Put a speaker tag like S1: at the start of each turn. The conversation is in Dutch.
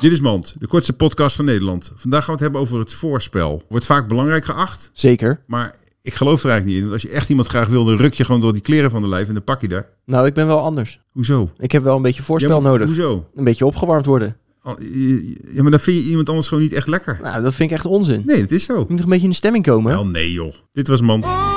S1: Dit is Mand, de kortste podcast van Nederland. Vandaag gaan we het hebben over het voorspel. Wordt vaak belangrijk geacht,
S2: Zeker.
S1: maar ik geloof er eigenlijk niet in. Want als je echt iemand graag wil, dan ruk je gewoon door die kleren van de lijf en dan pak je daar.
S2: Nou, ik ben wel anders.
S1: Hoezo?
S2: Ik heb wel een beetje voorspel
S1: Ja, maar
S2: nodig.
S1: Hoezo?
S2: Een beetje opgewarmd worden.
S1: Al- je- Ja, maar dan vind je iemand anders gewoon niet echt lekker.
S2: Nou, dat vind ik echt onzin.
S1: Nee, dat is zo.
S2: Je moet nog een beetje in de stemming komen.
S1: Wel nee joh. Dit was Mand.